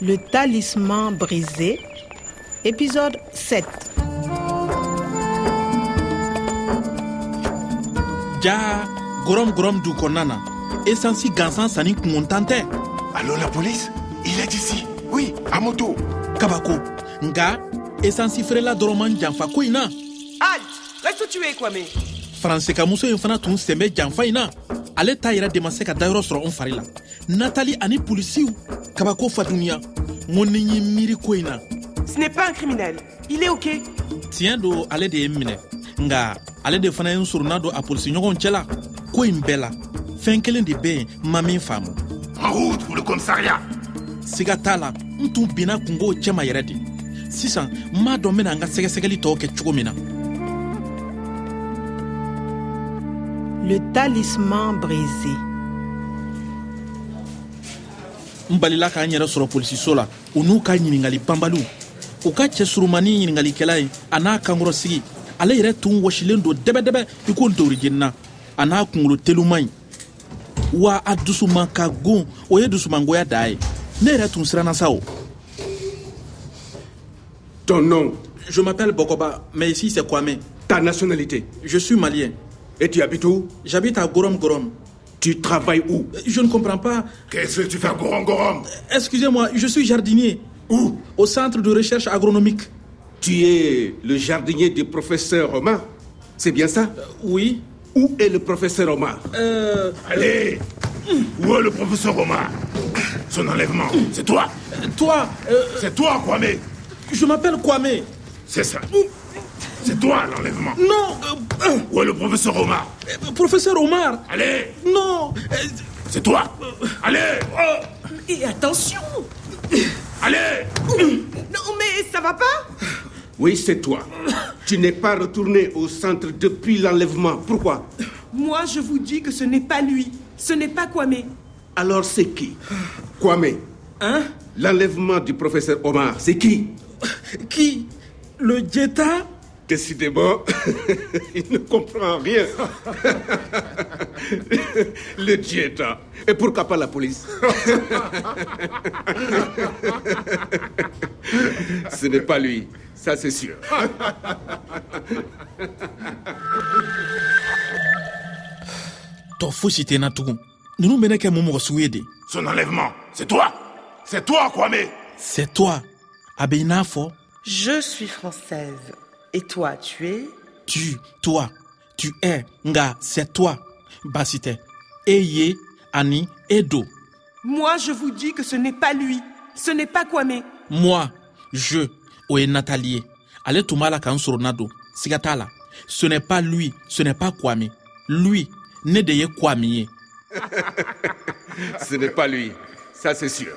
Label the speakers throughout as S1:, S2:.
S1: Le talisman brisé, épisode 7.
S2: ja gɔrɔmgɔrɔm du kɔnɔna na esansi gansan sanni kunkuntan tɛ
S3: Allô la police Il est ici Oui, à moto
S2: kabako nga esansi feerela dɔrɔn man janfa ko in na
S4: Halte Reste où tu es, Kwame
S2: faransekamuso in fana tun sen bɛ janfa in na ale ta yɛrɛ de ma se ka dayɔrɔ sɔrɔ n fari la natali ani polisiw kabako fadunuya n ko ni n y'i miiri ko in na
S4: Ce n'est pas un criminel. Il est OK.
S2: tiɲɛ don ale de ye n minɛ nga ale de fana ye n surunna don a polisiɲɔgɔnw cɛla ko in bɛɛ la fɛn kelen de bɛ yen n ma min faamu
S3: En route pour le commissariat
S2: siga t'a la n tun binna kungow cɛma yɛrɛ de sisan n m'a dɔn n bena n ka sɛgɛsɛgɛli tɔw kɛ cogo min na
S1: Le talisman brisé.
S2: n balila k'an yɛrɛ sɔrɔ polisiso la u n'u ka ɲiningali banbaliw u ka cɛsurumani ɲiningalikɛla ye a n'a kankɔrɔsigi ale yɛrɛ tun wɔsilen don dɛbɛdɛbɛ i ko ntorijenina a n'a kungolo teluman ɲi wa a dusuman ka gon o ye dusumangoya daa ye ne yɛrɛ tun siranna sa o
S5: Ton nom,
S2: je m'appelle bokoba mais ici c'est kwame
S5: ta nationalité.
S2: je suis malien
S5: Et tu habites où
S2: j'habite à gorom gorom
S5: Tu travailles où
S2: je ne comprends pas
S3: Qu'est-ce que tu fais, Gorongorom
S2: Excusez-moi, je suis jardinier.
S5: Où
S2: Au centre de recherche agronomique.
S5: Tu es le jardinier du professeur Omar. C'est bien ça
S2: Oui.
S5: Où est le professeur Omar
S2: Euh,
S3: Allez Où est le professeur Omar Son enlèvement, c'est toi
S2: toi, euh,
S3: C'est toi, Kwame
S2: je m'appelle Kwame.
S3: C'est ça C'est toi, l'enlèvement
S2: Non, euh,
S3: Où est le professeur Omar
S2: euh, professeur Omar.
S3: Allez
S2: Non. euh,
S3: C'est toi Allez Oh
S4: Et attention
S3: Allez
S4: Non, mais ça va pas
S5: Oui, c'est toi. Tu n'es pas retourné au centre depuis l'enlèvement. Pourquoi
S4: Moi, je vous dis que ce n'est pas lui. Ce n'est pas Kwame.
S5: Alors c'est qui Kwame.
S2: hein
S5: L'enlèvement du professeur Omar, c'est qui
S2: Qui Le Jetta
S5: Décidément, il ne comprend rien. le diéta. Et pourquoi pas la police Ce n'est pas lui, ça c'est sûr.
S2: Tɔ fosi tɛ n na tugun ninnu bɛ ne kɛ mun mɔgɔ sugu ye de
S3: Son enlèvement, c'est toi C'est toi, Kwame
S2: c'est toi a bɛ i n'a fɔ
S4: Je suis française. Et toi, tu es
S2: tu toi tu es nga c'est toi baasi tɛ e ye ani e do
S4: Moi, je vous dis que ce n'est pas lui. Ce n'est pas Kwame.
S2: moi je o ye natali ye ale tun b'a la ka n surunna don siga t'a la ce n'est pas lui ce n'est pas kwame lui ne de ye kwame ye
S5: Ce n'est pas lui, ça c'est sûr.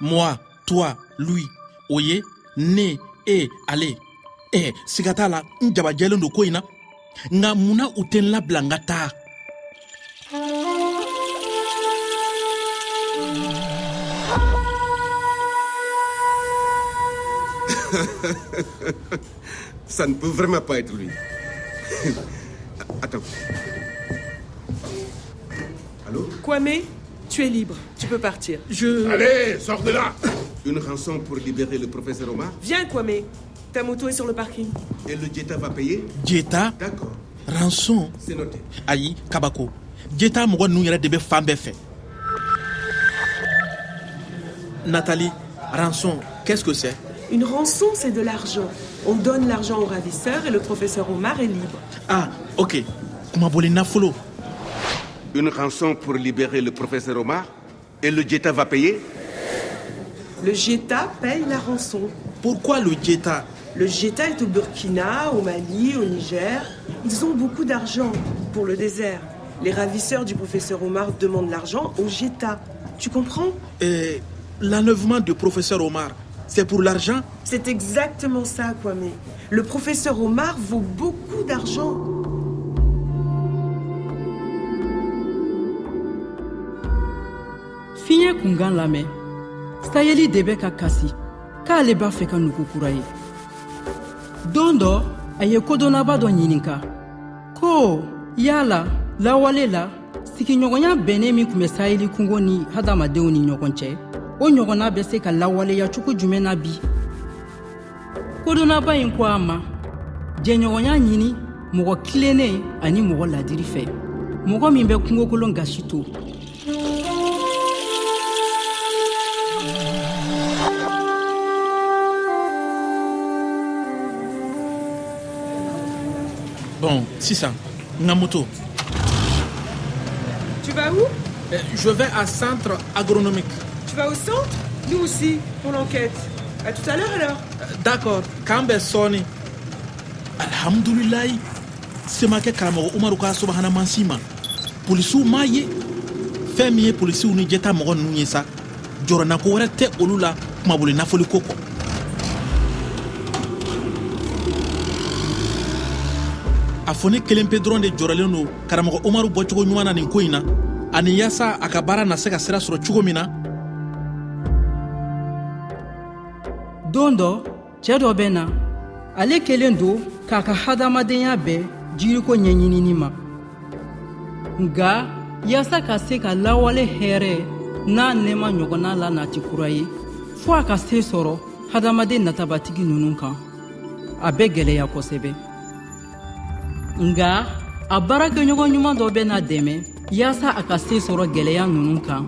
S2: moi toi lui o ye ne e ale ɛ siga t'a la n jabajɛlen don ko in na nka munna u tɛ n labila n ka taa
S5: Ça ne peut vraiment pas être lui. Attends. Allô
S4: Kwame, tu es libre. Tu peux partir.
S2: je
S3: Allez, sors de là
S5: Une rançon pour libérer le professeur Omar
S4: Viens, Kwame. Ta moto est sur le parking.
S5: et le diéta va payer
S2: jeta
S5: D'accord,
S2: ranson
S5: c'est noté.
S2: ayi kabako jeta mɔgɔ nunu yɛrɛ de bɛ fan bɛɛ fɛ natali ranson qu'est ce que c'est
S4: Une rançon, c'est de l'argent. On donne l'argent au ravisseur et le professeur Omar est libre.
S2: ah ok kuma boli nafolo
S5: Une rançon pour libérer le professeur Omar et le diéta va payer
S4: Le Jeta paye la rançon.
S2: pourquoi le jeta
S4: Le Jeta est au Burkina, au Mali, au Niger. Ils ont beaucoup d'argent pour le désert. Les ravisseurs du professeur Omar demandent l'argent au Jeta. Tu comprends
S2: euh, l'enlèvement du professeur Omar c'est pour l'argent
S4: C'est exactement ça, Kwame. Le professeur Omar vaut beaucoup d'argent.
S6: fiɲɛ kunkan lamɛn sayeli de bɛ ka kasi k'ale b'a fɛ ka nugu kura ye don dɔ a ye kodɔnnaba dɔ ɲininka ko yala lawale la sigiɲɔgɔnya bɛnnen min tun bɛ sayeli kungo ni hadamadenw ni ɲɔgɔn cɛ o ɲɔgɔnna bɛ se ka lawaleya cogo jumɛn na bi kodɔnnaba in ko a ma jɛɲɔgɔnya ɲini mɔgɔ kilennen ani mɔgɔ ladiri fɛ mɔgɔ min bɛ kungokolon gasi to
S2: bon sisan n ka moto
S4: Tu vas où
S2: Eh, je vais à centre agronomique
S4: Tu vas au centre Nous aussi, pour l'enquête. À tout à l'heure alors.
S2: Eh, d'accord k'an bɛ sɔɔni alhamdulilayi semakɛ karamɔgɔ umaru ka subahana mansi ma polisiw m'a ye fɛn min ye polisiw ni jɛta mɔgɔ ninnu ye sa jɔrɔnako wɛrɛ tɛ olu la kumaboli nafoliko kɔ a fɔni kelen pe dɔrɔn de jɔrɔlen don karamɔgɔ umaru bɔcogo ɲuman na nin ko in na ani yaasa a ka baara na se ka sira sɔrɔ cogo min na
S6: don dɔ cɛɛ dɔ bɛ na ale kelen don k'a ka hadamadenya bɛɛ jiriko ɲɛɲinini ma nga yaasa ka se ka lawale hɛɛrɛ n'a nɛɛma ɲɔgɔnna la nati kura ye fɔɔ a ka see sɔrɔ hadamaden natabatigi ninnu kan a bɛ gwɛlɛya kosɛbɛ nga a baarakɛɲɔgɔn ɲuman dɔ bɛ na dɛmɛ yaasa a ka see sɔrɔ gwɛlɛya ninnu kan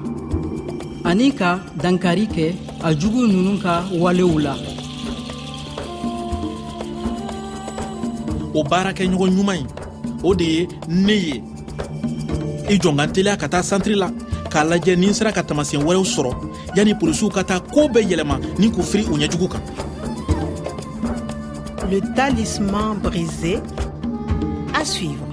S6: ani ka dankari kɛ a jugu ninnu ka walew la
S2: o baarakɛɲɔgɔn ɲuman ye o de ye ne ye i jɔn ka n teliya ka taa santiri la k'a lajɛ ni n sera ka tamasiyɛn wɛrɛw sɔrɔ yanni polisiw ka taa koo bɛɛ yɛlɛma ni k'u firi u ɲɛjugu kan
S1: Le talisman brisé. À suivre.